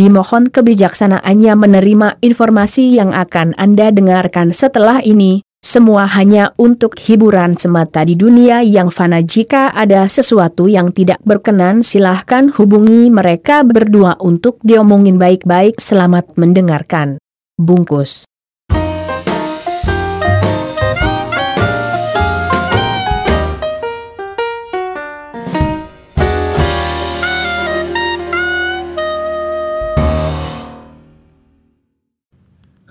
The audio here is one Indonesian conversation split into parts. Dimohon kebijaksanaannya menerima informasi yang akan Anda dengarkan setelah ini, semua hanya untuk hiburan semata di dunia yang fana jika ada sesuatu yang tidak berkenan silahkan hubungi mereka berdua untuk diomongin baik-baik selamat mendengarkan. Bungkus.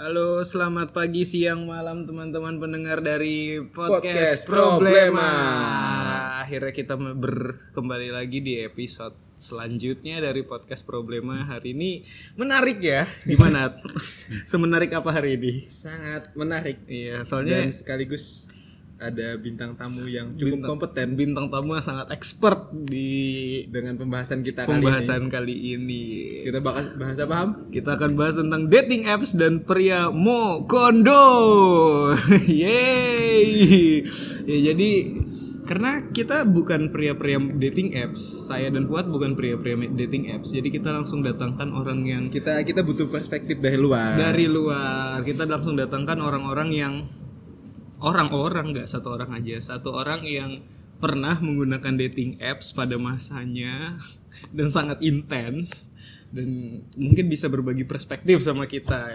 Halo, selamat pagi, siang, malam teman-teman pendengar dari podcast, Podcast Problema. Problema. Akhirnya kita ber kembali lagi di episode selanjutnya dari podcast Problema hari ini menarik ya. Gimana? Semenarik apa hari ini? sangat menarik Iya, soalnya dan sekaligus ada bintang tamu yang cukup bintang- kompeten Bintang tamu yang sangat expert di dengan pembahasan kita pembahasan kali ini. kali ini. Kita bakal bahas apa Ham? Kita akan bahas tentang dating apps dan pria mo kondo. Yeay. Ya, jadi karena kita bukan pria-pria dating apps, saya dan Fuad bukan pria-pria dating apps. Jadi kita langsung datangkan orang yang Kita kita butuh perspektif dari luar. dari luar. Kita langsung datangkan orang-orang yang orang-orang nggak satu orang aja, satu orang yang pernah menggunakan dating apps pada masanya dan sangat intens dan mungkin bisa berbagi perspektif sama kita.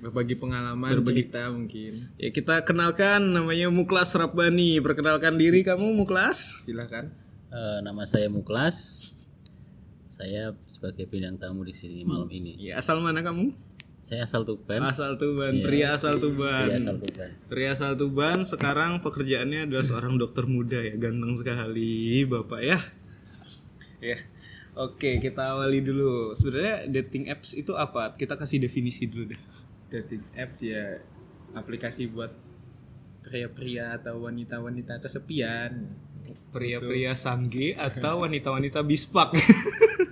berbagi pengalaman cerita mungkin. Ya kita kenalkan namanya Muklas Rabbani. Perkenalkan diri kamu Muklas. Silakan. Eh, nama saya Muklas. Saya sebagai bintang tamu di sini malam ini. Ya asal mana kamu? Saya asal Tuban. Asal Tuban, pria asal Tuban. Saya asal Tuban. Pria asal Tuban sekarang pekerjaannya adalah seorang dokter muda ya, ganteng sekali Bapak ya. Ya. Oke, kita awali dulu. Sebenarnya dating apps itu apa? Kita kasih definisi dulu dah. Dating apps ya aplikasi buat pria-pria atau wanita-wanita kesepian. Pria-pria sangge atau wanita-wanita bispak.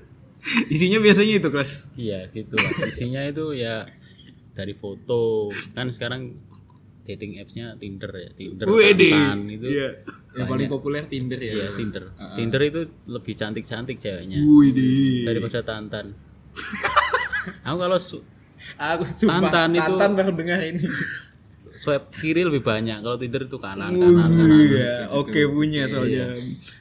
Isinya biasanya itu, kelas. Iya, gitu. lah. Isinya itu ya dari foto. Kan sekarang dating apps-nya Tinder ya, Tinder Wede. Tantan itu. Iya. Ah, Yang paling populer Tinder ya. Iya, Tinder. Tinder itu lebih cantik-cantik ceweknya Widih. daripada Tantan. Aku kalau su- Aku sumpah Tantan itu- Tantan baru dengar ini. swipe kiri lebih banyak, kalau Tinder itu kanan, kanan, kanan. Iya, oke punya soalnya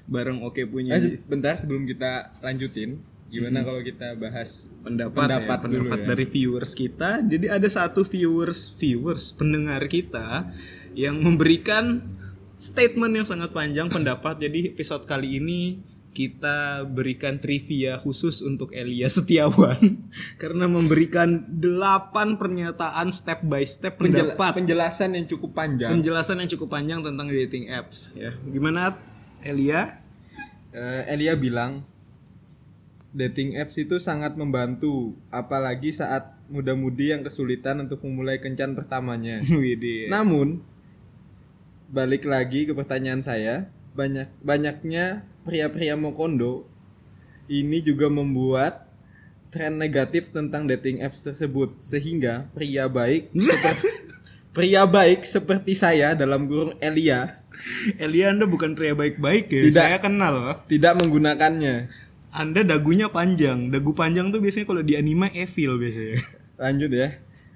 bareng oke punya Eh, se- bentar sebelum kita lanjutin, gimana kalau kita bahas pendapat ya, Pendapat dulu pendapat ya. dari viewers kita. Jadi ada satu viewers viewers pendengar kita yang memberikan statement yang sangat panjang pendapat. Jadi episode kali ini kita berikan trivia khusus untuk Elia Setiawan karena memberikan 8 pernyataan step by step Penjel- pendapat penjelasan yang cukup panjang. penjelasan yang cukup panjang tentang dating apps ya. Gimana Elia? Eh, Elia bilang dating apps itu sangat membantu, apalagi saat muda-mudi yang kesulitan untuk memulai kencan pertamanya. Widih. Namun balik lagi ke pertanyaan saya, banyak banyaknya pria-pria mokondo ini juga membuat tren negatif tentang dating apps tersebut sehingga pria baik seperti pria baik seperti saya dalam gurung Elia Elia Anda bukan pria baik-baik ya. Tidak. Saya kenal loh. tidak menggunakannya. Anda dagunya panjang. Dagu panjang tuh biasanya kalau di anime evil biasanya. Lanjut ya.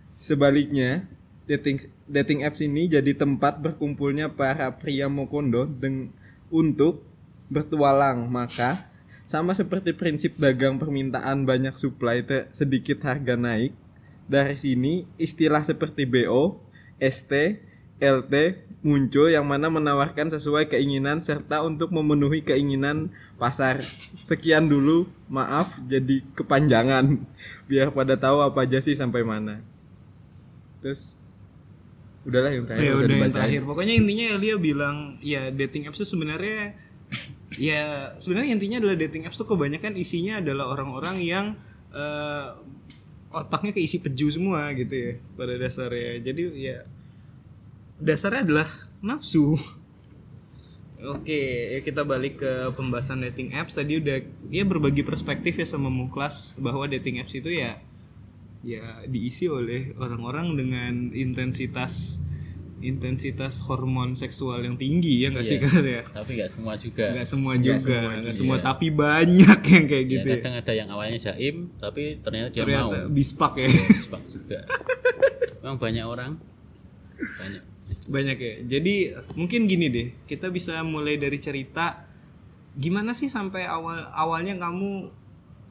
Sebaliknya, dating dating apps ini jadi tempat berkumpulnya para pria mokondo deng- untuk bertualang. Maka sama seperti prinsip dagang permintaan banyak supply te- sedikit harga naik. Dari sini istilah seperti BO, ST, LT muncul yang mana menawarkan sesuai keinginan serta untuk memenuhi keinginan pasar. Sekian dulu, maaf jadi kepanjangan. Biar pada tahu apa aja sih sampai mana. Terus udahlah yang terakhir Ya usah udah yang Iya, dibacain. terakhir. Pokoknya intinya Elia bilang ya dating apps tuh sebenarnya ya sebenarnya intinya adalah dating apps tuh kebanyakan isinya adalah orang-orang yang eh, otaknya keisi peju semua gitu ya pada dasarnya. Jadi ya dasarnya adalah nafsu. Oke, ya kita balik ke pembahasan dating apps tadi udah ya berbagi perspektif ya sama Muklas bahwa dating apps itu ya ya diisi oleh orang-orang dengan intensitas intensitas hormon seksual yang tinggi ya nggak sih Iya. Kas ya? tapi nggak semua juga Nggak semua juga, nggak semua semua, juga. Iya. tapi banyak yang kayak ya gitu ya. kadang ada yang awalnya jaim tapi ternyata dia Ternyata mau bispak ya. Sebab juga memang banyak orang banyak banyak ya jadi mungkin gini deh kita bisa mulai dari cerita gimana sih sampai awal awalnya kamu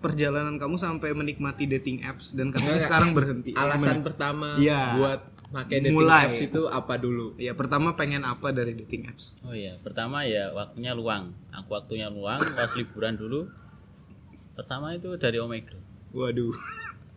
perjalanan kamu sampai menikmati dating apps dan katanya Nggak, sekarang berhenti Alasan Gimana? pertama Iya. buat pakai dating Mulai. apps itu apa dulu? ya pertama pengen apa dari dating apps oh iya pertama ya waktunya luang aku waktunya luang pas liburan dulu pertama itu dari Omegle waduh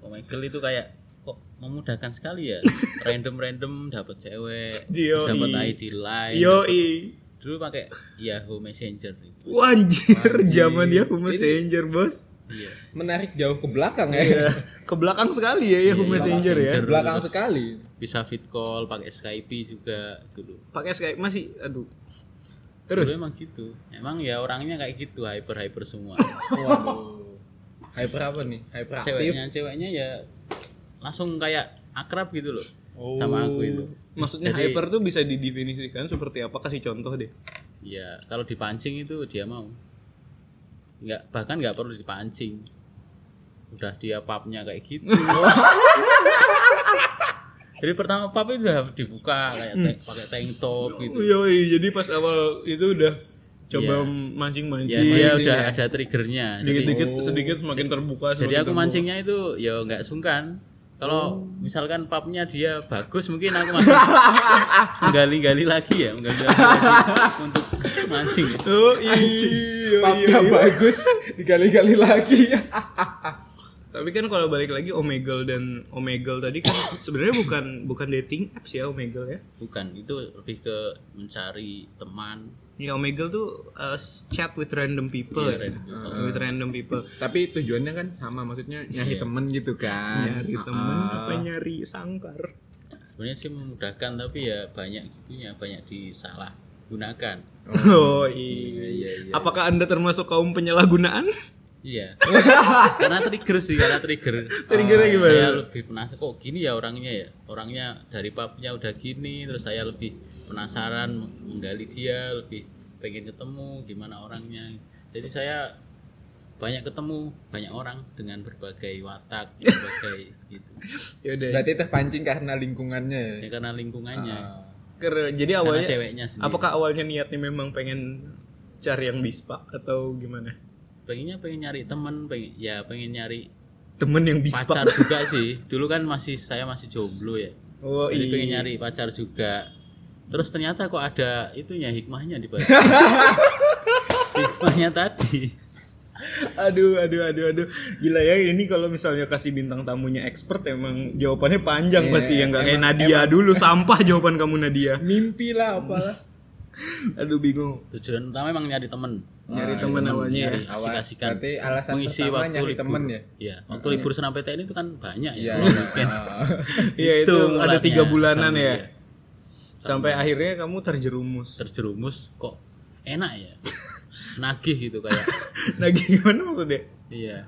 Omegle itu kayak kok memudahkan sekali ya random random dapat cewek Yoi. dapat ID line yoi dapet- dulu pakai Yahoo Messenger itu wanjir zaman Yahoo Messenger bos iya Menarik jauh ke belakang Iya. ya. ke belakang sekali ya Yahoo Messenger ya Messenger, belakang terus sekali. bisa fit call pakai Skype juga dulu pakai Skype masih aduh Terus? terus emang gitu. Emang ya orangnya kayak gitu, hyper-hyper semua. Waduh. Hyper apa nih? Hyperaktif. ceweknya, ceweknya ya langsung kayak akrab gitu loh. Sama aku itu. maksudnya Jadi- hyper tuh bisa didefinisikan seperti apa kasih contoh deh Ya, kalau dipancing itu dia mau. Nggak, bahkan nggak perlu dipancing. Udah dia papnya kayak gitu. Jadi pertama pap itu udah dibuka kayak te- pakai tank top gitu. Yoi, jadi pas awal itu udah coba Iya. Ya, mancing-mancing. dia udah ada triggernya. Jadi- Sedikit-sedikit sedikit semakin terbuka. Jadi semakin aku terbuka. mancingnya itu ya nggak sungkan. Kalau misalkan papnya dia bagus mungkin aku masih menggali-gali lagi ya, menggali-gali lagi untuk mancing. ya. Oh, iya. Papnya bagus digali-gali lagi. Tapi kan kalau balik lagi Omegle dan Omegle tadi kan sebenarnya bukan bukan dating apps ya Omegle ya. Bukan, itu lebih ke mencari teman. Ya Omegle tuh uh, chat with random people. ya. Iya, random With random people. Tapi tujuannya kan sama, maksudnya nyari temen gitu kan. Iya. Nyari temen Ah, apa nyari sangkar. Sebenarnya sih memudahkan tapi ya banyak gitunya, banyak disalah gunakan. Oh, iya. Apakah Anda termasuk kaum penyalahgunaan? Iya. karena trigger sih, karena trigger. Triggernya Ah, gimana? Saya lebih penasaran kok gini ya orangnya ya. Orangnya dari papnya udah gini, terus saya lebih penasaran meng- menggali dia, lebih pengen ketemu gimana orangnya. Jadi saya banyak ketemu banyak orang dengan berbagai watak, berbagai gitu. Yaudah. Berarti terpancing karena lingkungannya ya. Ya karena lingkungannya, Keren. Jadi karena Ah. awalnya ceweknya sendiri. Apakah awalnya niatnya memang pengen cari yang bispak atau gimana? Pengennya pengen nyari teman, pengen ya pengen nyari Temen yang bispak. pacar juga sih. Dulu kan masih saya masih jomblo ya. Oh Jadi pengen iya. nyari pacar juga. Terus ternyata kok ada itunya hikmahnya di balik. hikmahnya tadi. Aduh, aduh, aduh, aduh. Gila ya ini kalau misalnya kasih bintang tamunya expert emang jawabannya panjang Iya, pasti ya nggak kayak emang- Nadia dulu sampah jawaban kamu Nadia. Mimpi lah apalah. Aduh bingung. Tujuan utama emang nyari temen Nah, Nyari temen awalnya ya. nyari asik-asikan. Berarti alasan mengisi pertama waktu nyari libur. temen ya? Iya, waktu libur senam PTN itu kan banyak ya. Iya. long weekend. Iya itu, Itu ada mulanya, tiga bulanan sampai ya. dia. Sampai akhirnya kamu terjerumus. Terjerumus kok enak ya. Nagih gitu kayak. Nagih gimana maksudnya? iya.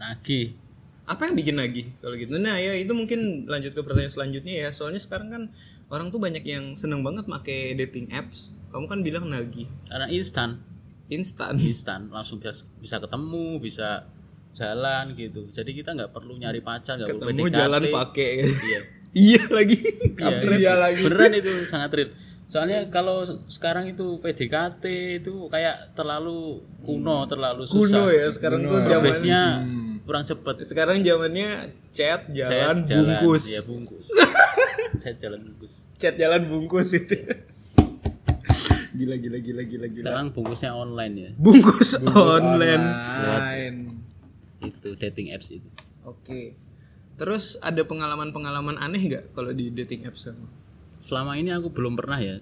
Nagih. apa yang bikin nagih kalau gitu nah ya itu mungkin lanjut ke pertanyaan selanjutnya ya soalnya sekarang kan orang tuh banyak yang seneng banget make dating apps kamu kan bilang nagih Karena instan. instan instan langsung bisa bisa ketemu bisa jalan gitu jadi kita nggak perlu nyari pacar nggak perlu ketemu PDKT. jalan pakai iya iya lagi Iya, Iya lagi. beneran itu sangat real soalnya kalau sekarang itu PDKT itu kayak terlalu kuno terlalu susah kuno ya sekarang tuh zaman progresnya kurang cepet sekarang zamannya chat Saya jalan jalan, bungkus iya, bungkus saya jalan bungkus chat jalan bungkus itu gila gila gila gila gila sekarang bungkusnya online ya bungkus, online. Online. itu dating apps itu oke terus ada pengalaman pengalaman aneh nggak kalau di dating apps kamu? selama ini aku belum pernah ya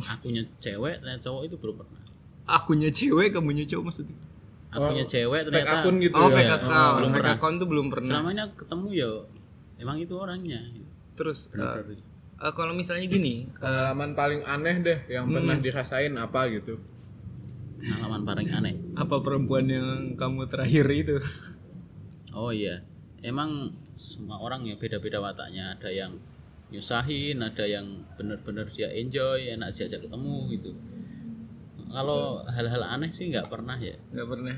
akunya cewek dan cowok itu belum pernah akunya cewek kamunya cowok maksudnya akunya cewek Fake ternyata akun gitu oh ya. fake account belum fake pernah. account tuh belum pernah selama ini aku ketemu ya emang itu orangnya terus Nah. Bener-bener. eh, eh, kalau misalnya gini Pengalaman paling aneh deh yang Hmm. pernah dirasain apa gitu. pengalaman paling aneh apa perempuan yang kamu terakhir itu oh iya emang semua orang ya beda-beda wataknya ada yang nyusahin ada yang bener-bener dia enjoy enak diajak ketemu gitu kalau hal-hal aneh sih nggak pernah ya Gak pernah.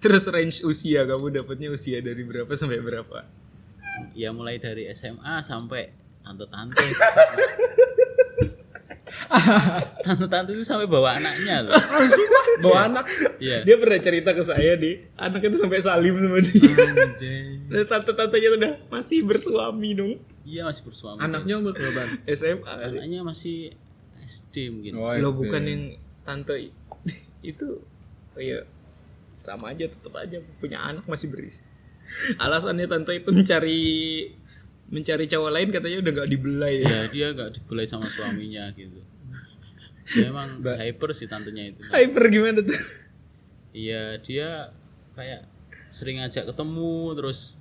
Terus range usia kamu dapatnya usia dari berapa sampai berapa? ya mulai dari SMA sampai tante-tante tante-tante itu sampai bawa anaknya loh Bawa anak. Iya. Dia pernah cerita ke saya di anaknya itu sampai salim sama dia. Dan tante-tantenya sudah masih bersuami dong. iya masih bersuami Anaknya umur berapa? SMA. anaknya masih SD mungkin Lo bukan yang tante i- itu. Oh iya. Sama aja tetap aja punya anak masih beris. Alasannya tante itu mencari mencari cowok lain katanya udah gak dibelai ya. ya dia nggak dibulai sama suaminya gitu ya, emang hyper sih tantenya itu Hyper gimana tuh? iya dia kayak sering ngajak ketemu terus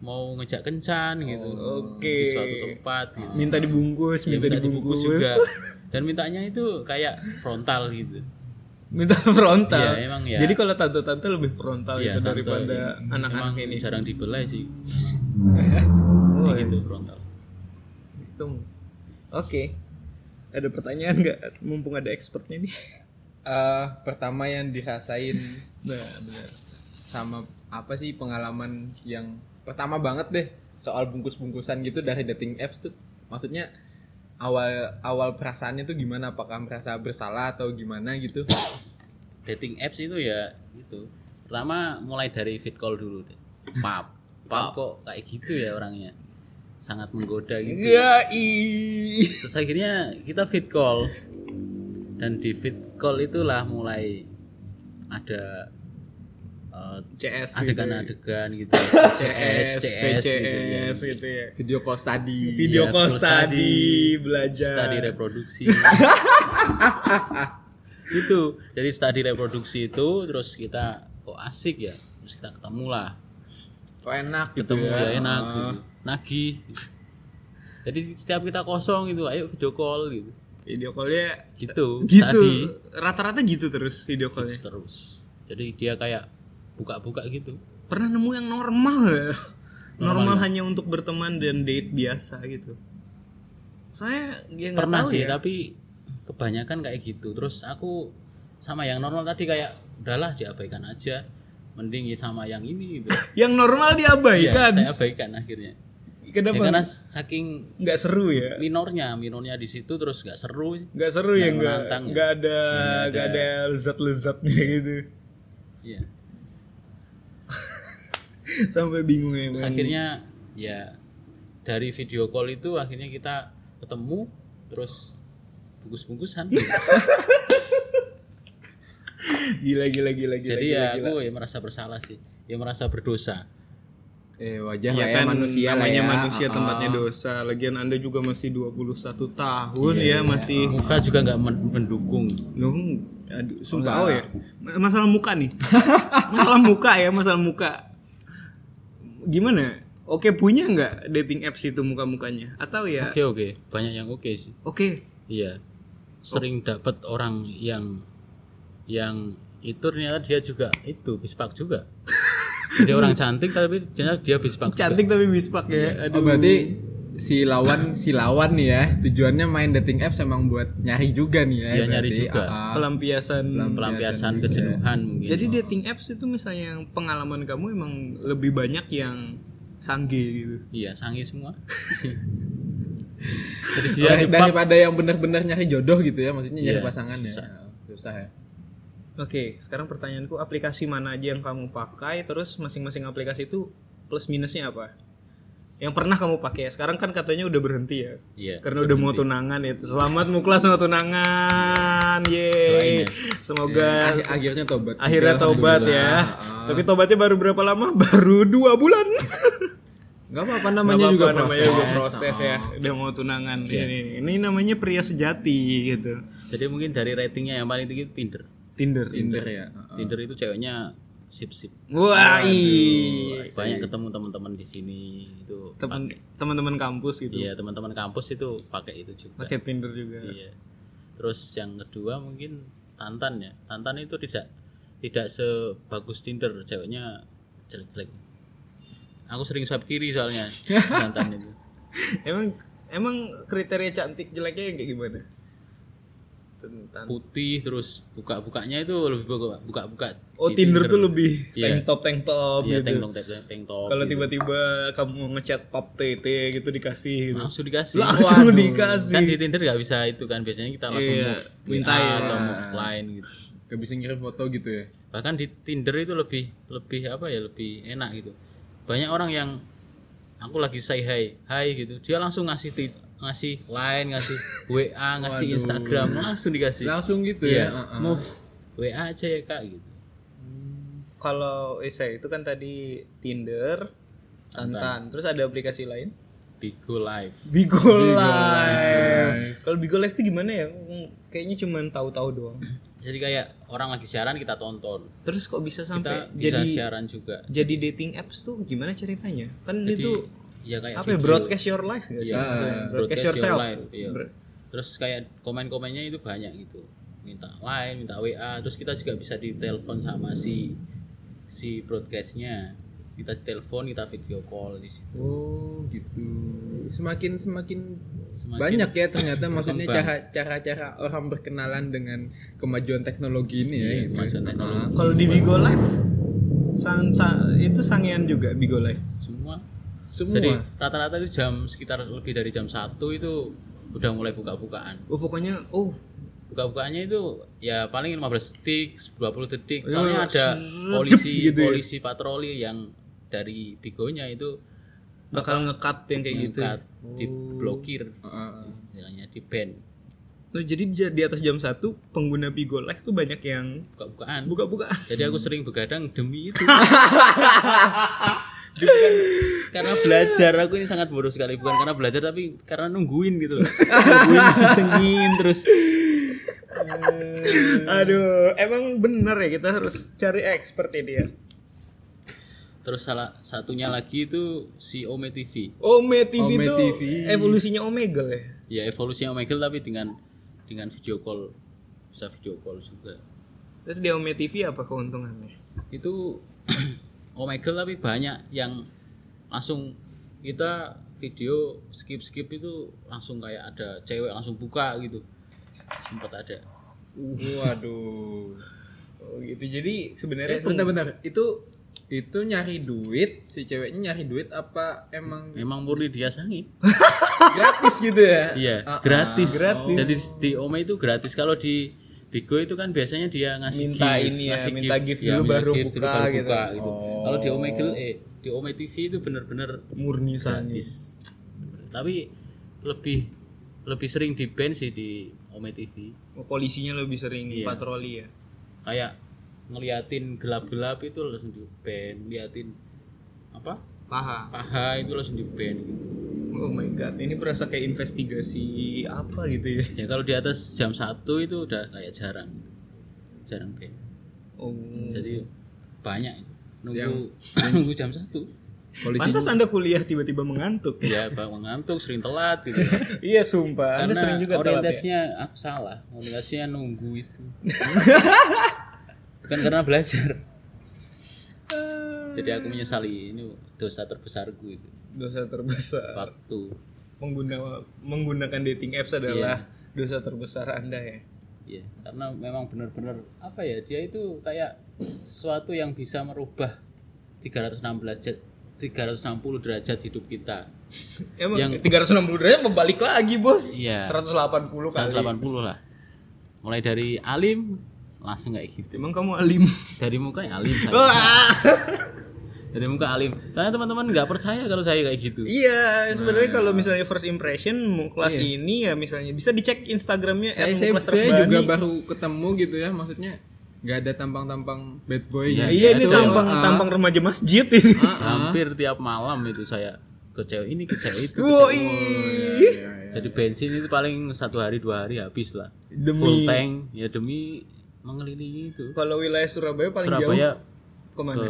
mau ngejak kencan gitu Oh, Oke. di suatu tempat gitu Minta dibungkus, Ya, minta, dibungkus. juga dan mintanya itu kayak frontal gitu minta frontal. Iya, emang ya. Jadi kalau tante-tante lebih frontal Iya, gitu tante. daripada anak-anak emang ini. jarang dibelai sih Kayak gitu frontal Itu. Oke. Ada pertanyaan nggak? Mumpung ada expertnya nih. Eh, pertama yang dirasain Nah, benar. sama apa sih pengalaman yang pertama banget deh soal bungkus-bungkusan gitu dari dating apps tuh maksudnya awal awal perasaannya tuh gimana apakah merasa bersalah atau gimana gitu dating apps itu ya gitu pertama mulai dari fit call dulu deh pap pap kok kayak gitu ya orangnya sangat menggoda gitu Ya, ih. terus akhirnya kita fit call dan di fit call itulah mulai ada eh, CS gitu. adegan-adegan gitu CS CS, CS gitu ya. PCS gitu ya. video call study Video Iya, call terus study, belajar. studi reproduksi itu jadi studi reproduksi itu terus kita kok asik ya terus kita ketemu lah kok enak gitu ketemu ya Iya. enak gitu. nagih jadi setiap kita kosong gitu ayo video call gitu Video callnya gitu, gitu. study Rata-rata gitu terus video callnya. terus jadi dia kayak buka-buka gitu Pernah nemu yang normal ya? Normal, hanya untuk berteman dan date biasa gitu. Saya ya nggak pernah tahu sih ya. tapi kebanyakan kayak gitu terus aku sama yang normal tadi kayak udahlah diabaikan aja mending ya sama yang ini gitu yang normal Iya, diabaikan saya abaikan akhirnya Ya, kenapa karena saking nggak seru ya minornya minornya di situ terus nggak seru nggak seru ya nggak menantang ya. nggak ada nggak ada lezat lezatnya gitu Iya. sampai bingung ya terus akhirnya ya dari video call itu akhirnya kita ketemu terus bungkus-bungkusan Iya, gila gila gila gila jadi gila, ya gila. aku ya merasa bersalah sih ya merasa berdosa eh Ya wajar lah kan ya manusia lah namanya ya. manusia Ah, tempatnya dosa. Lagian Anda juga masih 21 tahun Iya, ya, masih muka juga nggak men- mendukung Loh, aduh, sumpah oh ya. Ma- Masalah muka nih. masalah muka ya, masalah muka. Gimana? Oke punya nggak dating apps itu muka-mukanya? Atau ya oke Oke. oke banyak yang oke sih Oh. iya sering dapat orang yang yang itu ternyata dia juga itu bispak juga dia orang cantik tapi ternyata dia bispak juga. Cantik tapi bispak ya. oh, Aduh. berarti si lawan si lawan nih ya tujuannya main dating apps emang buat nyari juga nih ya Iya, nyari berarti. juga. Ah, ah. pelampiasan. pelampiasan kejenuhan mungkin Iya, Jadi dating apps itu misalnya yang pengalaman kamu emang lebih banyak yang sangge gitu. iya sangi semua jadi dia Dari- nyebab daripada yang benar-benar nyari jodoh gitu ya maksudnya nyari Iya, pasangan ya susah. susah ya Oke, sekarang pertanyaanku aplikasi mana aja yang kamu pakai terus masing-masing aplikasi itu plus minusnya apa? Yang pernah kamu pakai. Sekarang kan katanya udah berhenti ya. Iya, Karena udah mau tunangan ya. Selamat muklas mau tunangan. Doain Yeay. ya. Semoga Akhir- akhirnya tobat akhirnya tobat ya. Tapi tobatnya baru berapa lama? Baru dua bulan. nggak apa-apa namanya juga Apa-apa, namanya proses juga proses ya. Udah mau tunangan Iya. ini. Ini namanya pria sejati gitu. jadi mungkin dari ratingnya yang paling tinggi itu Tinder Tinder. Tinder ya Tinder itu ceweknya sip sip Wah, ih. banyak ketemu teman-teman di sini itu Teman- teman-teman kampus gitu. iya teman-teman kampus itu pakai itu juga pakai Tinder juga. Iya. Terus yang kedua mungkin Tantan ya. Tantan itu tidak tidak sebagus Tinder, ceweknya jelek-jelek. Aku sering swipe kiri soalnya Tantan itu. emang emang kriteria cantik jeleknya yang kayak gimana? Tentang putih terus buka-bukanya itu lebih buka buka buka Oh di Tinder tuh lebih Iya. tank top tank top Iya, tank gitu. top tank top, tank top Kalau gitu. tiba-tiba kamu ngechat pop tete gitu dikasih gitu. langsung dikasih Langsung Waduh. dikasih. kan di Tinder nggak bisa itu kan biasanya kita langsung Iya, move minta WA ya. atau move line gitu Gak bisa ngirim foto gitu ya. bahkan di Tinder itu lebih lebih apa ya lebih enak gitu banyak orang yang aku lagi say hi hi gitu dia langsung ngasih ti- ngasih line ngasih WA ngasih Instagram langsung dikasih Langsung gitu ya. Iya, Heeh. move WA aja ya kak gitu Kalau eh, saya itu kan tadi Tinder, Tantan, terus ada aplikasi lain. Bigo Live Bigo Live. Kalau Bigo Live itu gimana ya? Kayaknya cuman tahu-tahu doang. jadi kayak orang lagi siaran kita tonton Terus kok bisa sampai kita bisa jadi siaran juga jadi dating apps tuh gimana ceritanya? Kan jadi itu ya kayak apa ya, video, broadcast your life nggak sih? Iya, Maksudnya, broadcast, broadcast your yourself. life, iya. Ber- terus kayak komen-komennya itu banyak gitu minta line minta WA terus kita juga bisa ditelepon sama si si broadcastnya kita telepon kita video call di situ. Oh gitu. Semakin semakin Semakin- banyak ya ternyata maksudnya Berkembang. cara cara cara orang berkenalan dengan kemajuan teknologi ini ya. gitu. kemajuan teknologi Kalau di Bigo Live sang, sang- itu sangean juga Bigo Live. semua Semua. jadi rata-rata itu jam sekitar lebih dari jam satu itu udah mulai buka-bukaan Oh pokoknya oh buka-bukaannya itu ya paling 15 detik 20 detik Iya, soalnya ada polisi gitu ya. polisi patroli yang dari bigonya itu bakal ngekat yang kayak gitu. diangkat diblokir Heeh. istilahnya di ban Nah, jadi di- di atas jam 1 pengguna Bigo Live tuh banyak yang buka-bukaan buka-buka. jadi aku sering begadang demi itu Bukan kan karena belajar aku ini sangat bodoh sekali bukan karena belajar tapi karena nungguin gitu loh nungguin nungguin terus Aduh, emang bener ya kita harus cari expert ini ya. terus salah satunya lagi itu si Ome TV Ome TV Ome itu TV. evolusinya Omegle ya. ya evolusinya Omegle tapi dengan dengan video call bisa video call juga Terus di Ome TV apa keuntungannya? itu Omegle tapi banyak yang langsung kita video skip skip itu langsung kayak ada cewek langsung buka gitu sempet ada Waduh. Oh gitu. Jadi sebenarnya Bentar-bentar. Eh, Itu itu nyari duit si ceweknya nyari duit apa emang memang murni dia sangi gratis gitu ya? iya gratis. jadi di Ome itu gratis kalau di Bigo itu kan biasanya dia ngasih Minta gift, ini ya, ngasih minta gift dulu minta baru gift dulu buka baru gitu. buka gitu. Kalau di Omegle eh di Ome TV itu bener-bener murni sangi. gratis. Tapi lebih lebih sering di ban sih di Ome TV. Oh, Polisinya lebih sering Iya. patroli ya. Kayak ngeliatin gelap-gelap itu langsung di ban, ngeliatin apa? Paha. Paha itu langsung di ban gitu. Oh my god, ini berasa kayak investigasi apa gitu ya. Ya kalau di atas jam 1 itu udah kayak jarang. Jarang ban. Oh. Jadi banyak itu. Nunggu nunggu jam 1. Pantas Anda kuliah tiba-tiba mengantuk. Ya bangun ngantuk, sering telat gitu. iya, sumpah. Anda Karena sering juga telat ya. orientasinya aku salah. Orientasinya nunggu itu. Bukan karena belajar. Jadi aku menyesali ini dosa terbesarku itu. Dosa terbesar. Waktu. Mengguna, menggunakan dating apps adalah dosa terbesar Anda ya. Ya, karena memang benar-benar apa ya dia itu kayak sesuatu yang bisa merubah 316 derajat 360 derajat hidup kita. Emang 360 derajat membalik lagi, Bos. Iya. 180 kali. 180 lah. Mulai dari alim langsung kayak gitu. Emang kamu alim? Dari muka ya alim saya. Wah. dari muka alim karena teman-teman nggak percaya kalau saya kayak gitu Iya, sebenarnya kalau misalnya first impression Muklas ini ya misalnya bisa dicek Instagramnya Saya, saya, saya juga baru ketemu gitu ya maksudnya nggak ada tampang-tampang bad boy ya. Iya. Iya, ini tampang tampang remaja masjid ini. hampir tiap malam itu saya ke cewek ini ke cewek itu ke cewek Woi. itu. jadi bensin itu paling satu hari dua hari habis lah Demi full tank ya demi mengelilingi itu kalau wilayah Surabaya paling jauh Surabaya ke mana? ke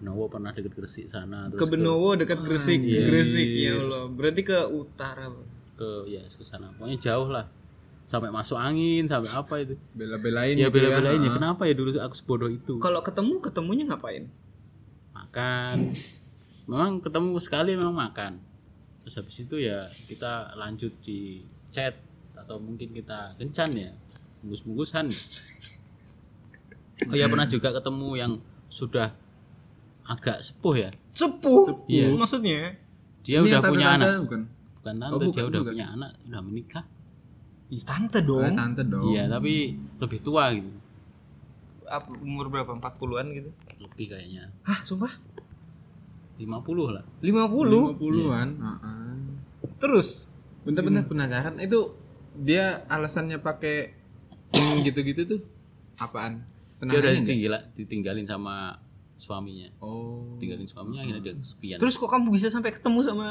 Benowo pernah deket Gresik sana Ke terus ke, Benowo dekat Gresik, Iya. Gresik ya Allah. Berarti ke utara. ke ya ke sana pokoknya jauh lah sampai masuk angin sampai apa itu Bela-belain ya gitu ya. bela-belain ah. ya kenapa ya dulu aku sebodoh itu Kalau ketemu ketemunya ngapain? makan memang ketemu sekali memang makan Terus terus habis itu ya kita lanjut di chat atau mungkin kita kencan ya bungkus-bungkusan oh ya pernah juga ketemu yang sudah agak sepuh ya Sepuh. Iya. Maksudnya dia Ini yang udah tante- punya tante anak bukan? bukan Oh, tante bukan, dia udah bukan. punya anak udah menikah Ih, tante Oh, dong. tante dong. iya tapi lebih tua gitu Apa, umur berapa? 40-an gitu. lebih kayaknya Hah, sumpah? 50 lah 50. 50-an. Iya. heeh. Terus Bentar-bentar ah. penasaran itu dia alasannya pakai ini gitu-gitu tuh apaan? dia udah Penasaran nggak? ditinggila- ditinggalin sama suaminya Oh. tinggalin suaminya akhirnya dia kesepian terus kok kamu bisa sampai ketemu sama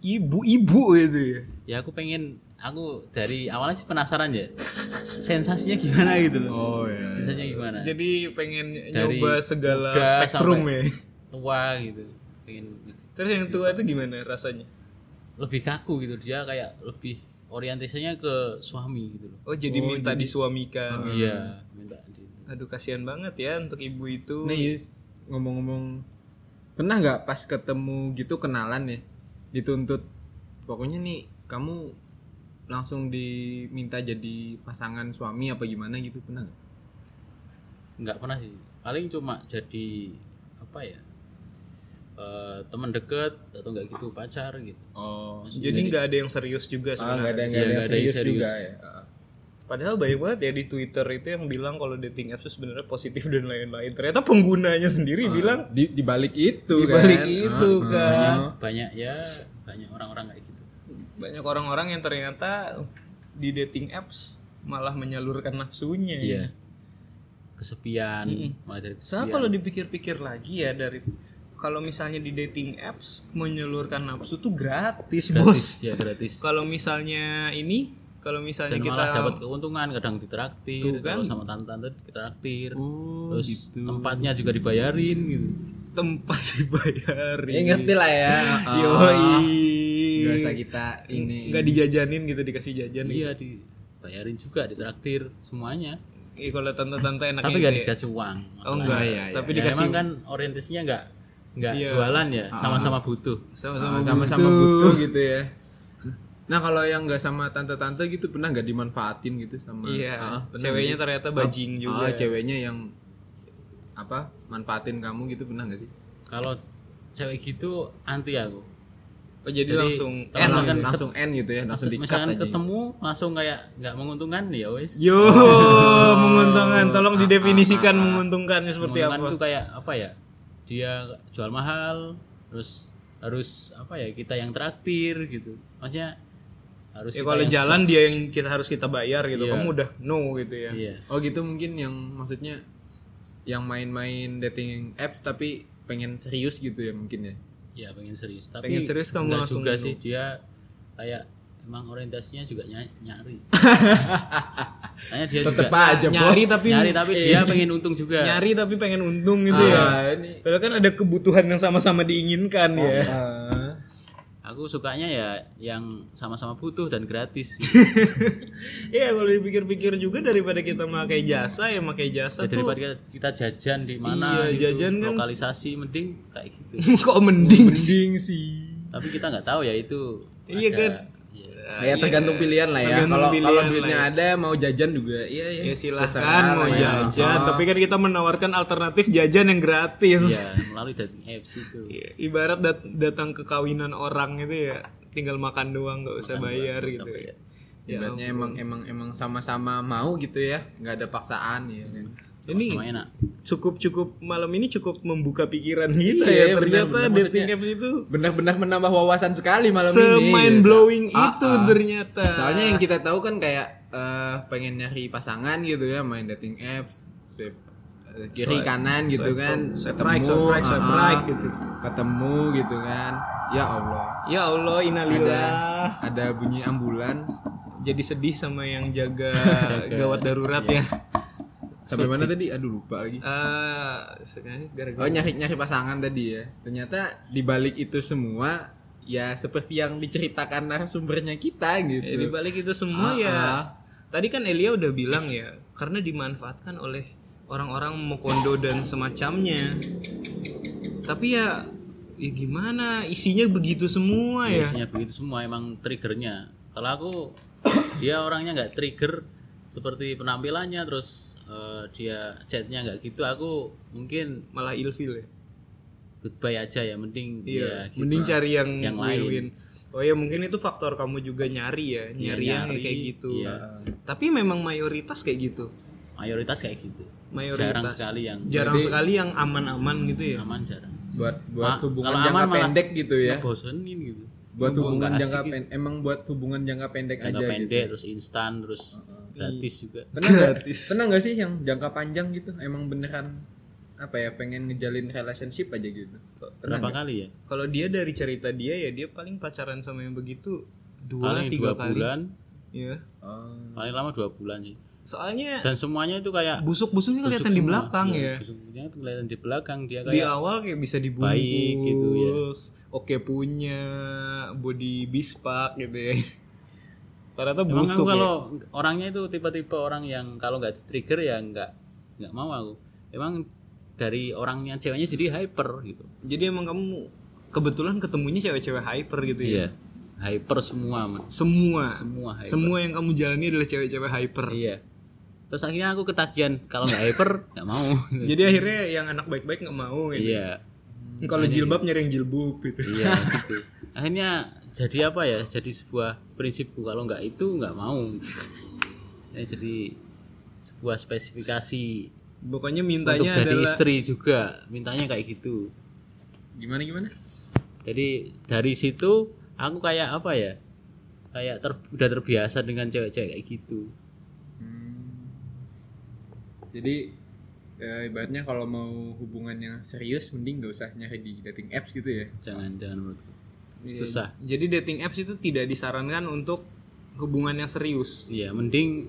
ibu-ibu gitu ya? ya aku pengen aku dari awalnya sih penasaran ya sensasinya gimana gitu loh Oh iya. sensasinya gimana Jadi pengen Dari nyoba segala muda spektrum sampai- ya. tua gitu pengen Terus yang tua itu gimana rasanya? lebih kaku gitu dia kayak lebih orientasinya ke suami gitu loh Oh, jadi minta disuamikan. iya minta di- Aduh kasihan banget ya untuk ibu itu. Nah, Yus, ngomong-ngomong pernah nggak pas ketemu gitu kenalan ya dituntut pokoknya nih kamu langsung diminta jadi pasangan suami apa gimana gitu pernah nggak? nggak pernah sih paling cuma jadi apa ya eh, teman deket atau nggak gitu pacar gitu Oh, jadi nggak ada yang serius juga ah, sebenarnya. nggak ada nggak Iya, ada yang nggak ada yang serius, serius. juga ya. Ah. Padahal banyak banget ya di Twitter itu yang bilang kalau dating apps itu sebenarnya positif dan lain-lain. Ternyata penggunanya sendiri bilang Di, di balik itu di balik kan. itu kan. banyak ya banyak orang-orang kayak gitu Banyak orang-orang yang ternyata di dating apps malah menyalurkan nafsunya. iya kesepian mulai dari kesepian Soalnya kalau dipikir-pikir lagi ya dari kalau misalnya di dating apps menyalurkan nafsu tuh gratis, bos. ya gratis Kalau misalnya ini, kalau misalnya dan kita malah dapat keuntungan kadang ditraktir Tuh kan. kalau sama tante-tante ditraktir terus tempatnya juga dibayarin gitu tempat dibayarin. Ya ngerti lah ya. Ah, nggak Yoi. usah kita ini. nggak dijajanin gitu dikasih jajan gitu. iya dibayarin juga ditraktir semuanya Ih, kalau tante-tante enaknya tapi gitu nggak ya. dikasih uang oh masalahnya. enggak iya, iya. tapi Ya, dikasih Iya. Ah. emang kan orientasinya nggak nggak jualan ya sama-sama butuh sama-sama Ah, sama-sama butuh gitu ya. Nah kalau yang nggak sama tante-tante gitu pernah nggak dimanfaatin gitu sama iya Ah, pernah ceweknya nggak sih? ternyata bajing juga Ah, ceweknya yang apa manfaatin kamu gitu pernah nggak sih? kalau cewek gitu anti aku oh, jadi, langsung kalau N, misalkan Eh, langsung N gitu ya langsung di misalkan ketemu langsung kayak nggak menguntungkan ya wes yo menguntungkan tolong didefinisikan menguntungkannya seperti menguntungkan apa tuh kayak apa ya dia jual mahal terus harus apa ya kita yang traktir gitu maksudnya harus ya kita kalau yang- jalan dia yang kita harus kita bayar gitu Iya. kamu udah no gitu ya iya Oh gitu mungkin yang maksudnya yang main-main dating apps tapi pengen serius gitu ya mungkin ya. ya pengen serius tapi Pengen serius kamu nggak langsung gitu. juga dulu. sih dia kayak emang orientasinya juga ny- nyari Makanya dia Tetep juga aja bos. Ah, nyari tapi nyari tapi dia pengen untung juga nyari tapi pengen untung gitu ya Ah, ini padahal kan ada kebutuhan yang sama-sama diinginkan ya ah. aku sukanya ya yang sama-sama butuh dan gratis Iya kalau dipikir-pikir juga daripada kita pakai jasa ya pakai jasa Ya, tuh daripada kita, kita jajan di mana gitu, Iya, jajan kan- lokalisasi mending kayak gitu kok mending sih. tapi kita nggak tahu ya itu Iya ada- kan? ya Iya. tergantung pilihan lah ya. Tergantung Kalau kalau pilihan lah duitnya ada mau jajan juga. Iya iya. Ya Terserah silahkan mau lah ya. jajan, tapi kan kita menawarkan alternatif jajan yang gratis. Iya, Iya, melalui dating apps itu Ibarat dat- datang ke kawinan orang itu ya tinggal makan doang nggak usah bayar gitu. ya. Ibaratnya emang emang emang sama-sama mau gitu ya. nggak ada paksaan ya. kan. Ini Semua enak cukup cukup malam ini cukup membuka pikiran kita Iya, ya. benar, Ternyata benar. dating Maksudnya- apps itu Benar-benar menambah wawasan sekali malam ini. semain blowing itu Iya. Ah, ah. ternyata. Soalnya yang kita tahu kan kayak eh, pengen nyari pasangan gitu ya main dating apps, swipe eh, kiri Swipe- kanan gitu swipe kan, swipe ketemu, right, swipe right, swipe ah, ah, right gitu. ketemu gitu kan. Ya Allah. Ya Allah inalillah. Ada bunyi ambulans. jadi sedih sama yang jaga gawat darurat Iya. ya. Sampai mana tadi? Aduh lupa lagi. Eh, sekarang gara-gara Oh nyari nyari pasangan tadi ya. Ternyata di balik itu semua ya seperti yang diceritakan narasumbernya kita Ya, di gitu. balik itu semua ya. ah. Tadi kan Elia udah bilang ya, karena dimanfaatkan oleh orang-orang Mokondo dan semacamnya. Tapi ya ya gimana isinya begitu semua ya, Iya isinya begitu semua emang triggernya kalau aku dia orangnya nggak trigger seperti penampilannya terus eh, dia chatnya nggak gitu aku mungkin malah ilfil ya goodbye aja ya mending Iya, ya gitu. mending cari yang, Yang lain. win-win. Oh ya mungkin itu faktor kamu juga nyari ya, nyari yang Iya, nyari, kayak gitu. iya. Tapi memang mayoritas kayak gitu. mayoritas kayak gitu Mayoritas. jarang sekali yang Jarang sekali yang aman-aman gitu ya. aman jarang buat buat Ma- hubungan kalau jangka aman malah- pendek gitu Iya. ya ngebosenin gitu buat Nggak hubungan asik jangka gitu. pendek emang buat hubungan jangka pendek jangka aja gitu pendek terus instan terus gratis Iya. juga pernah nggak Gratis. pernah nggak sih yang jangka panjang gitu emang beneran apa ya pengen ngejalin relationship aja gitu pernah nggak? berapa kali ya Kalau dia dari cerita dia ya dia paling pacaran sama yang begitu dua paling tiga dua kali. bulan Iya. oh, paling lama dua bulan sih Soalnya dan semuanya itu kayak busuk-busuknya busuk kelihatan di semua. belakang Iya, ya. busuknya itu kelihatan di belakang dia Di kayak awal kayak bisa dibungkus, Baik gitu ya. oke punya, body bispak gitu ya. Ternyata Emang aku busuk ya. kalau orangnya itu tipe-tipe orang yang kalau nggak trigger ya nggak nggak mau aku. Emang dari orangnya ceweknya jadi hyper gitu. Jadi emang kamu kebetulan ketemunya cewek-cewek hyper gitu ya? Iya. Hyper semua, men. Semua. semua hyper. Semua yang kamu jalani adalah cewek-cewek hyper. Iya. Terus akhirnya aku ketagihan kalau nggak hyper nggak mau. gitu. Jadi akhirnya yang anak baik-baik nggak mau gitu. Iya. Kalau jilbab nyari yang jilbab gitu. Iya gitu. Akhirnya jadi apa ya? Jadi sebuah prinsipku kalau nggak itu nggak mau. Gitu. Ya, jadi sebuah spesifikasi Pokoknya untuk mintanya jadi adalah istri juga mintanya kayak gitu. gimana gimana jadi dari situ aku kayak apa ya kayak ter- udah terbiasa dengan cewek-cewek kayak gitu jadi eh, ibaratnya kalau mau hubungan yang serius mending gak usah nyari di dating apps gitu ya jangan jangan menurutku Iya. susah Jadi dating apps itu tidak disarankan untuk hubungan yang serius. iya mending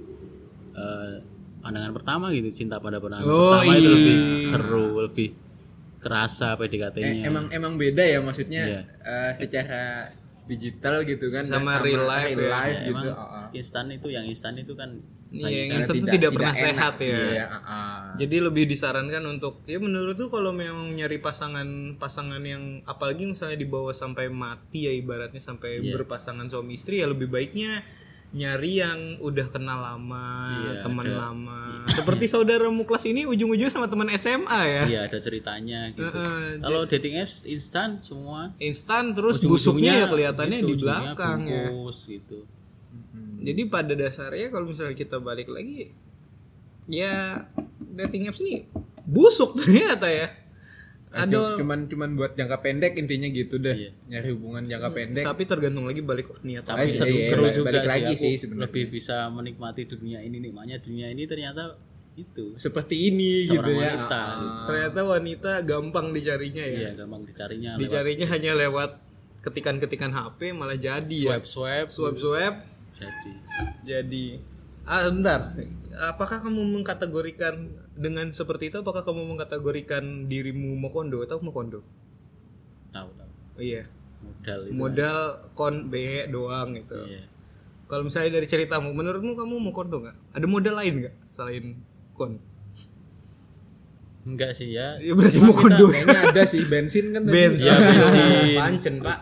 eh, pandangan pertama gitu cinta pada pandangan Oh, pertama itu iya. lebih seru lebih Eh, kerasa PDKT-nya emang emang beda ya maksudnya Iya. eh, secara digital gitu kan dan Sama real life real ya. life Ya, gitu emang oh, oh. instan itu yang instan itu kan Iya, kayak- yang Karena instan tuh tidak pernah sehat ya. Iya, oh, oh. Jadi lebih disarankan untuk ya menurut tuh kalau memang nyari pasangan pasangan yang apalagi misalnya dibawa sampai mati ya ibaratnya sampai Iya. berpasangan suami istri ya lebih baiknya nyari yang udah kenal lama, Iya, teman lama. Seperti saudaramu kelas ini ujung-ujungnya sama teman SMA ya. iya ada ceritanya gitu Heeh, kalau dating apps instan semua Instan terus busuknya ya Ujung-ujungnya kelihatannya gitu, di ujungnya belakang ya. bungkus gitu Iya, Jadi pada dasarnya kalau misalnya kita balik lagi ya dating apps ini busuk ternyata ya. Ah, cu- cuman cuman buat jangka pendek intinya gitu deh Iya. nyari hubungan jangka pendek Tapi tergantung lagi balik niat Eh, tapi iya, seru, iya, seru balik- juga balik lagi aku sih sebenarnya. lebih bisa menikmati dunia ini nikmatnya dunia ini ternyata itu seperti ini seorang gitu ya wanita Ah, ah. Ternyata wanita gampang dicarinya ya. iya gampang dicarinya lewat Dicarinya hanya lewat ketikan-ketikan HP malah jadi ya. swipe swipe Swipe-swipe jadi jadi ah bentar. Apakah kamu mengkategorikan dengan seperti itu apakah kamu mengkategorikan dirimu Mokondo atau Mokondo? tahu tahu Oh iya. modal itu Modal kon be doang gitu. Iya. Kalau misalnya dari ceritamu, menurutmu kamu Mokondo nggak? Ada modal lain nggak selain kon? enggak sih ya Ya berarti Cuma Mokondo. kayaknya ada sih bensin kan tadi. Bensin. Iya, bensin. Pancen, Pak.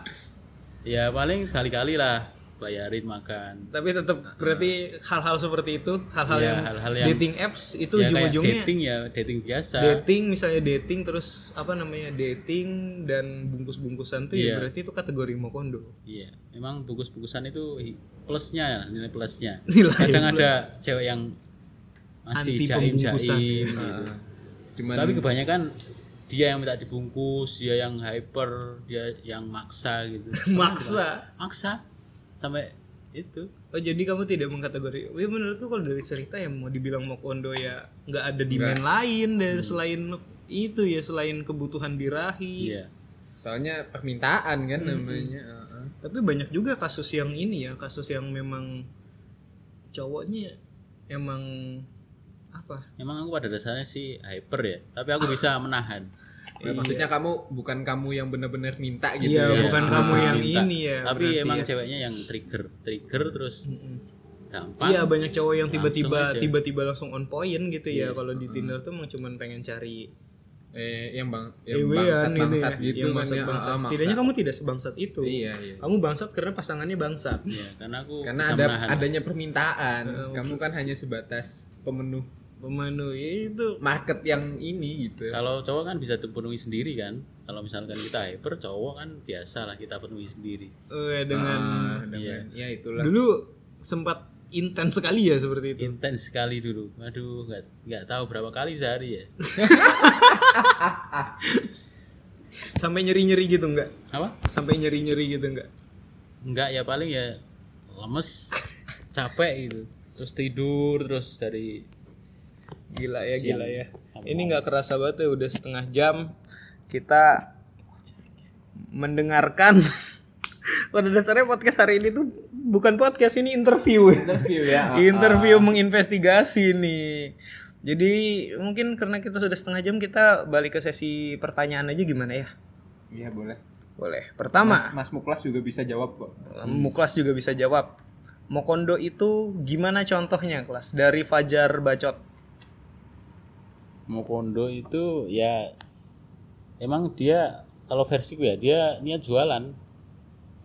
ya paling sekali kali lah bayarin makan Tapi tetap berarti hal-hal seperti itu, hal-hal Ya, yang, Nah, hal-hal yang- dating apps itu ya kayak ujung-ujungnya dating. dating ya dating biasa misalnya dating terus apa namanya dating dan bungkus-bungkusan tuh ya Iya. berarti itu kategori mokondo. iya memang bungkus-bungkusan itu hi- plusnya nilai plusnya Nilai kadang ada cewek yang masih Anti pembungkusan. jaim-jaim Ah. gitu. cuman Tapi kebanyakan dia yang minta dibungkus, dia yang hyper, dia yang maksa gitu. Maksa. maksa sampai itu. Oh jadi kamu tidak mengkategori. Ya menurutku kalau dari cerita yang mau dibilang mokondo ya nggak ada demand lain dari Hmm. selain itu ya selain kebutuhan birahi. Iya. soalnya permintaan kan namanya ah, ah. Tapi banyak juga kasus yang ini ya, kasus yang memang cowoknya emang apa? Emang aku pada dasarnya sih hyper ya, tapi aku bisa menahan. Ya, maksudnya kamu bukan kamu yang benar-benar minta gitu Iya, ya bukan kamu yang ini ya. tapi berarti emang ya. ceweknya yang trigger, trigger terus gampang. Iya, banyak cowok yang tiba-tiba Iya. Langsung aja. tiba-tiba langsung on point gitu ya. Kalau di Tinder tuh emang cuman pengen cari eh yang bang yang bangsat Ewean ini bangsat ya, gitu yang bangsat maksudnya bangsat. ah, maksa. Setidaknya kamu tidak sebangsat itu. Iya, iya. Kamu bangsat karena pasangannya bangsat. ya karena aku karena bisa ada menahan. adanya permintaan kamu kan hanya sebatas pemenuh Memenuhi itu market yang ini gitu kalau cowok kan bisa terpenuhi sendiri kan kalau misalkan kita hyper cowok kan biasalah kita penuhi sendiri eh, dengan Ah, dengan- ya itulah dulu sempat intens sekali ya seperti itu. intens sekali dulu aduh nggak nggak tahu berapa kali sehari ya Sampai nyeri-nyeri gitu enggak? apa Sampai nyeri-nyeri gitu enggak? enggak ya paling ya lemes capek gitu terus tidur terus dari Gila ya, gila ya. Ini nggak kerasa banget ya udah setengah jam kita mendengarkan pada dasarnya podcast hari ini tuh bukan podcast ini interview. Interview ya. interview menginvestigasi nih. Jadi mungkin karena kita sudah setengah jam kita balik ke sesi pertanyaan aja gimana ya? iya boleh Boleh. Pertama, Mas Muklas juga bisa jawab kok Hmm. Muklas juga bisa jawab. Mokondo itu gimana contohnya kelas dari Fajar Bacot? mau kondo itu ya emang dia kalau versiku ya dia niat jualan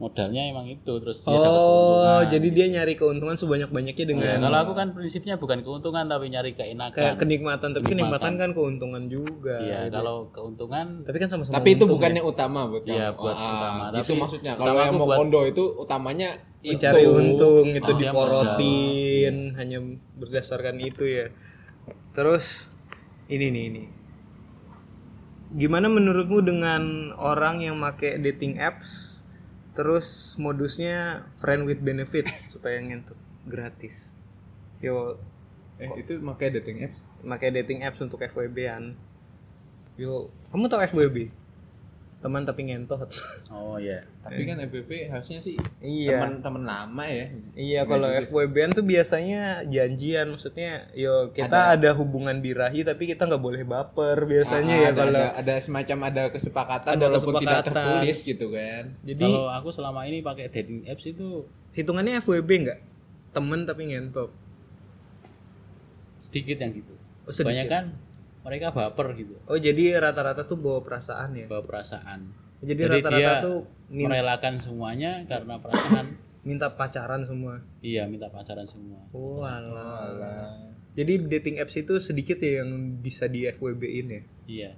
modalnya emang itu terus Iya, dia dapat Oh, iya, keuntungan. jadi dia nyari keuntungan sebanyak-banyaknya Ya, Iya. dengan kalau aku kan prinsipnya bukan keuntungan tapi eh, nyari keenakan kenikmatan, tapi kenikmatan kan keuntungan juga. ya kalau keuntungan Tapi kan sama-sama. Iya. tapi itu bukannya utama buat kamu. Ah, Iya, buat utama. itu Tapi maksudnya utama kalau yang aku mau buat- kondo itu utamanya itu. mencari untung itu dia diporotin hanya berdasarkan itu ya. Terus ini nih ini. Gimana menurutmu dengan orang yang make dating apps terus modusnya friend with benefit supaya ngentut gratis. Yo eh itu makanya dating apps make dating apps untuk FWB-an. Yo, kamu tau FWB? Teman tapi ngentot. oh ya tapi kan FBB harusnya sih Eh. iya. teman-teman lama ya Iya kalau FWB-an tuh biasanya janjian maksudnya yo kita ada, hubungan birahi tapi kita nggak boleh baper biasanya ya ada, kalau ada, ada semacam ada kesepakatan Ada walaupun tidak kesepakatan. tertulis gitu kan jadi kalau aku selama ini pakai dating apps itu hitungannya FWB nggak temen tapi ngentot sedikit yang gitu Oh, sedikit. banyak kan mereka baper gitu oh jadi rata-rata tuh bawa perasaan ya bawa perasaan jadi Jadi rata-rata dia tuh min- merelakan semuanya karena perasaan minta pacaran semua iya minta pacaran semua Oh, walah jadi dating apps itu sedikit ya yang bisa di FWB-in ya iya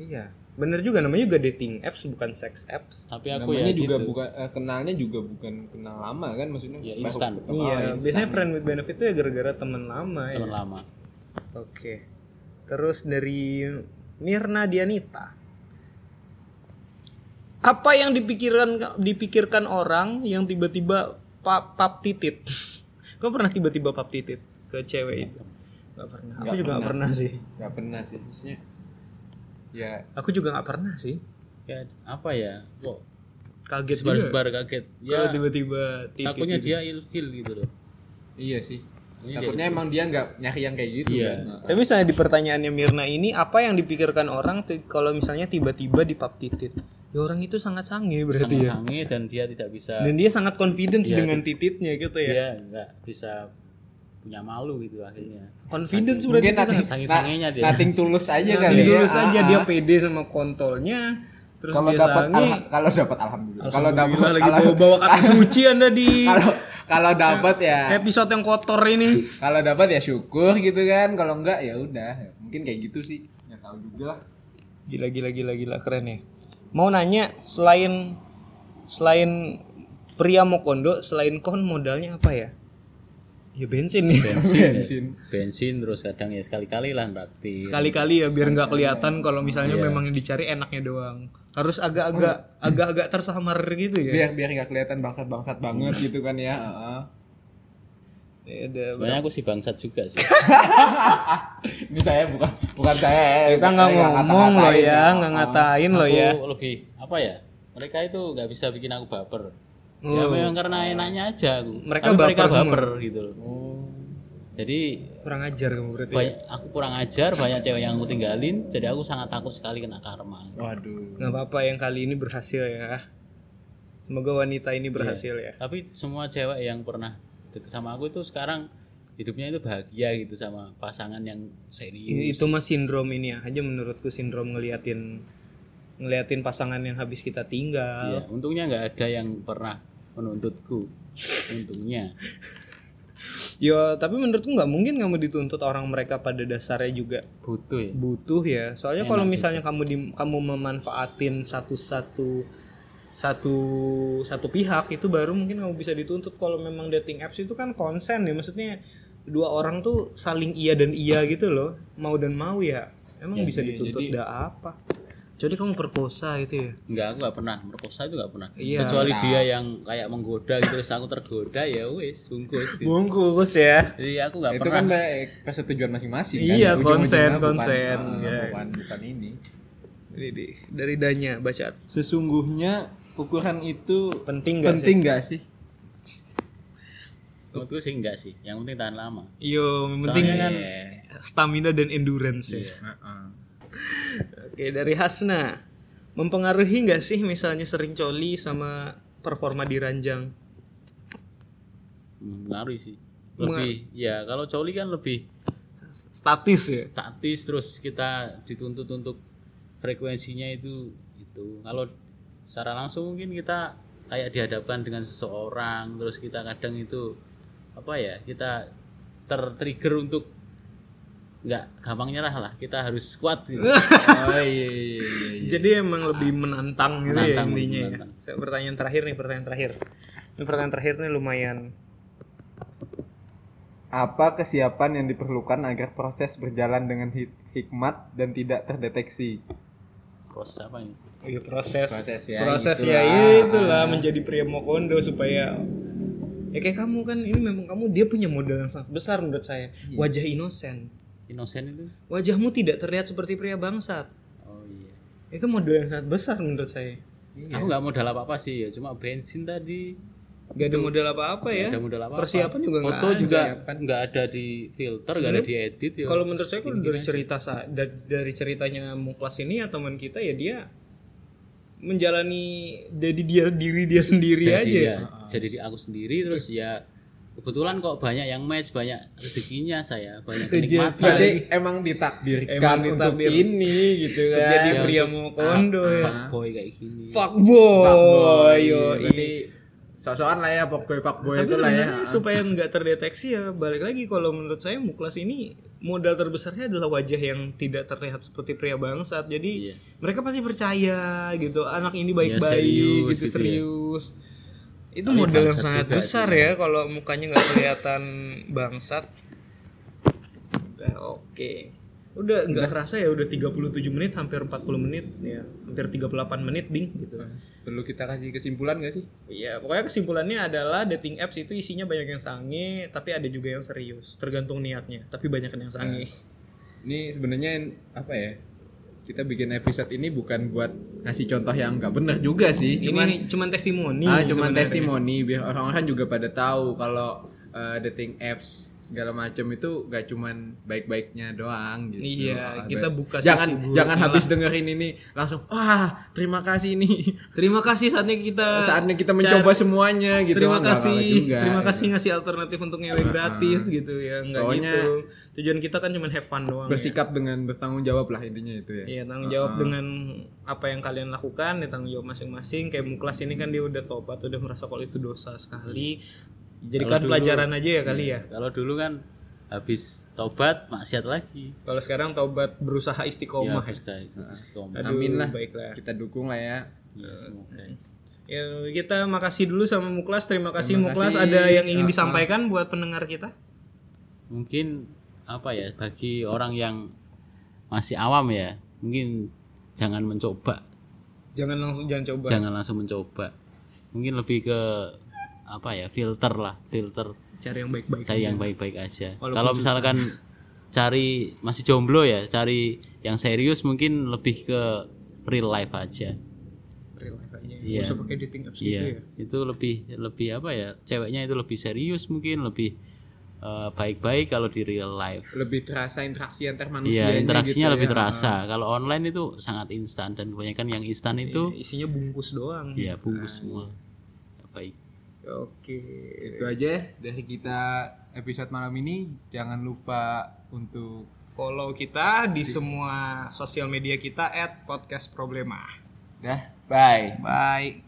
iya bener juga namanya juga dating apps bukan sex apps tapi aku namanya ya juga gitu. bukan eh, kenalnya juga bukan kenal lama kan maksudnya Ya, baru instan. ketemu. iya biasanya friend with benefit tuh ya gara-gara temen lama ya teman lama Oke. Terus dari Mirna Dianita. Apa yang dipikirkan dipikirkan orang yang tiba-tiba pap, pap titit? Kau pernah tiba-tiba pap titit ke cewek itu? Gak pernah. Aku juga gak pernah sih. nggak pernah sih maksudnya ya Aku juga gak pernah sih. kayak apa ya kok Kaget juga. sebar-sebar kaget ya Iya. Kalau tiba-tiba titit. takutnya dia ilfil gitu loh iya sih takutnya emang dia nggak nyari yang kayak gitu gitu. Iya. kan Tapi misalnya di pertanyaannya Mirna ini apa yang dipikirkan orang ti- kalau misalnya tiba-tiba di pap titit? Ya orang itu sangat sange berarti ya. sange dan dia tidak bisa Dan dia sangat confidence Iya. dengan tititnya gitu ya. dia nggak bisa punya malu gitu akhirnya confidence berarti Iya. mungkin nothing, sange-sangenya dia. nothing tulus aja Nah, kali tulus ya. aja dia pede sama kontolnya terus kalau dia dapat sange alha- kalau dapat alhamdulillah kalau dapat Alhamdulillah, lagi kalau bawa, bawa kata suci anda di kalau kalau dapat ya episode yang kotor ini kalau dapat ya syukur gitu kan kalau enggak ya udah mungkin kayak gitu sih nggak tahu juga lah gila gila gila gila keren ya mau nanya selain selain pria mokondo selain kon modalnya apa ya ya bensin nih bensin bensin terus kadang ya sekali-kali lah praktis sekali-kali ya biar nggak kelihatan kalau misalnya memang dicari enaknya doang harus agak-agak agak-agak tersamar gitu ya biar biar nggak kelihatan bangsat bangsat banget gitu kan ya Heeh. Ya, ada sebenarnya aku sih bangsat juga sih ini saya bukan bukan kita saya ya. Iya, nggak Saya ngomong loh ngata-ngatain, ya nggak ngatain loh ya Aku lebih apa ya mereka itu nggak bisa bikin aku baper ya memang karena enaknya aja aku Oh. Mereka Tapi baper semua. Oh. gitu loh jadi kurang ajar kamu berarti Iya. banyak, aku kurang ajar banyak cewek yang aku tinggalin jadi aku sangat takut sekali kena karma waduh nggak apa-apa yang kali ini berhasil ya semoga wanita ini berhasil ya tapi semua cewek yang pernah deket sama aku itu sekarang hidupnya itu bahagia gitu sama pasangan yang Iya. serius ya. itu mah sindrom ini aja menurutku sindrom ngeliatin ngeliatin pasangan yang habis kita tinggal Iya, untungnya nggak ada yang pernah menuntutku untungnya yo Ya, tapi menurutku nggak mungkin kamu dituntut orang mereka pada dasarnya juga butuh ya butuh ya soalnya kalau misalnya kamu di, kamu memanfaatin satu satu satu satu pihak itu baru mungkin kamu bisa dituntut kalau memang dating apps itu kan konsen ya maksudnya dua orang tuh saling iya dan iya gitu loh mau dan mau ya emang bisa dituntut dah apa jadi kamu perkosa gitu ya nggak aku nggak pernah merkosa itu nggak pernah Iya. kecuali Nah. dia yang kayak menggoda gitu terus aku tergoda ya wis bungkus gitu. bungkus ya jadi aku nggak itu pernah kan kayak persetujuan masing-masing kan? Iya, Ujung-ujungnya konsen, konsen, bukan, ya. eh, bukan, bukan ini Ini deh, dari danya baca sesungguhnya ukuran itu penting gak penting nggak sih menurutku sih enggak sih yang penting tahan lama sih yo yang penting kan Iya. stamina dan endurance ya Heeh. Oke dari Hasna Mempengaruhi nggak sih misalnya sering coli sama performa di ranjang? mengaruhi sih lebih ya kalau coli kan lebih Statis ya? statis terus kita dituntut untuk frekuensinya itu itu kalau secara langsung mungkin kita kayak dihadapkan dengan seseorang terus kita kadang itu apa ya kita tertrigger untuk nggak gampang nyerah lah kita harus kuat gitu. oh iya iya iya, iya. Jadi emang lebih menantang gitu ya Menantang, intinya ya? menantang. Saya pertanyaan terakhir nih, pertanyaan terakhir Ini pertanyaan terakhir nih lumayan apa kesiapan yang diperlukan agar proses berjalan dengan hik- hikmat dan tidak terdeteksi proses apa ini Oh iya proses Proses ya, Proses ya, itulah Ah. menjadi pria Mokondo supaya Ya kayak kamu kan, ini memang kamu dia punya modal yang sangat besar menurut saya Iya. Wajah inosen inosen itu Wajahmu tidak terlihat seperti pria bangsat oh iya Itu modal yang sangat besar menurut saya Iya. aku nggak modal apa apa sih ya cuma bensin tadi Gak ada modal apa-apa ya nggak ada modal apa Persiapan juga nggak foto juga nggak ada di filter nggak ada di edit ya kalau menurut saya kalau dari cerita sa- da- dari ceritanya Muklas ini ya teman kita ya dia menjalani jadi dia diri dia sendiri jadi Iya aja. ya, jadi di aku sendiri terus ya kebetulan kok banyak yang match banyak rezekinya saya banyak kenikmatan berarti emang ditakdirkan Emang untuk ditakdir. ini gitu kan Jadi pria mau kondo ya. boy kayak Oh, gini Fuckboy. yo. berarti sosokan iya, lah ya fuckboy fuckboy Tapi itu lah ya sebenarnya supaya nggak terdeteksi ya balik lagi kalau menurut saya Muklas ini modal terbesarnya adalah wajah yang tidak terlihat seperti pria bangsat. Jadi mereka pasti percaya gitu anak ini baik-baik serius gitu, gitu ya. serius. Itu modal yang sangat besar ya kalau mukanya nggak kelihatan bangsat. Udah, Oke. Udah nggak kerasa ya udah 37 menit hampir 40 menit ya, hampir 38 menit ding gitu. perlu kita kasih kesimpulan gak sih Iya, pokoknya kesimpulannya adalah dating apps itu isinya banyak yang sange, tapi ada juga yang serius, tergantung niatnya. Tapi banyak yang sange. ini sebenarnya yang- apa ya kita bikin episode ini bukan buat ngasih contoh yang nggak bener juga sih cuman ini cuman testimoni. ah, cuman sebenarnya. testimoni biar orang-orang juga pada tahu kalau eh, dating apps segala macam itu gak cuman baik-baiknya doang gitu. Iya, Ah, kita baik- buka sisi jangan buruknya jangan habis dengerin ini langsung wah terima kasih nih Terima kasih saatnya kita saatnya kita mencoba cari- semuanya gitu. terima Nggak kasih apa-apa juga. terima kasih ngasih alternatif untuk ngewe gratis gitu ya nggak Pokoknya- gitu tujuan kita kan cuma have fun doang ya. bersikap dengan bertanggung jawab lah intinya itu ya. Iya tanggung jawab dengan apa yang kalian lakukan ya tanggung jawab masing-masing kayak muklas ini kan dia udah tobat udah merasa kalau itu dosa sekali jadikan pelajaran aja ya kali ya kalau dulu kan habis tobat maksiat lagi kalau sekarang tobat berusaha ya istiqomah harus dari- istiqomah. Aduh, Amin lah. baiklah Kita dukung lah ya. Ya, semoga. ya, kita makasih dulu sama muklas terima kasih muklas ada yang ingin disampaikan buat pendengar kita mungkin apa ya bagi orang yang masih awam ya mungkin jangan mencoba jangan langsung jangan coba jangan langsung mencoba mungkin lebih ke apa ya filter lah filter cari yang baik-baik cari yang baik-baik aja. Kalau misalkan cari masih jomblo ya, cari yang serius mungkin lebih ke real life aja. real life aja Nggak usah pakai dating apps Iya, gitu ya itu lebih lebih apa ya? Ceweknya itu lebih serius mungkin lebih eh, baik-baik kalau di real life. Lebih terasa interaksi antar gitu ya. manusia. Iya, interaksinya lebih terasa. Kalau online itu sangat Iya, instan dan kebanyakan yang instan itu Iya. isinya bungkus doang ya bungkus semua. Nggak Baik. Oke. Itu aja ya dari kita episode malam ini. Jangan lupa untuk Follow kita di semua sosial media kita at podcast problema. dah Nah, bye. Bye.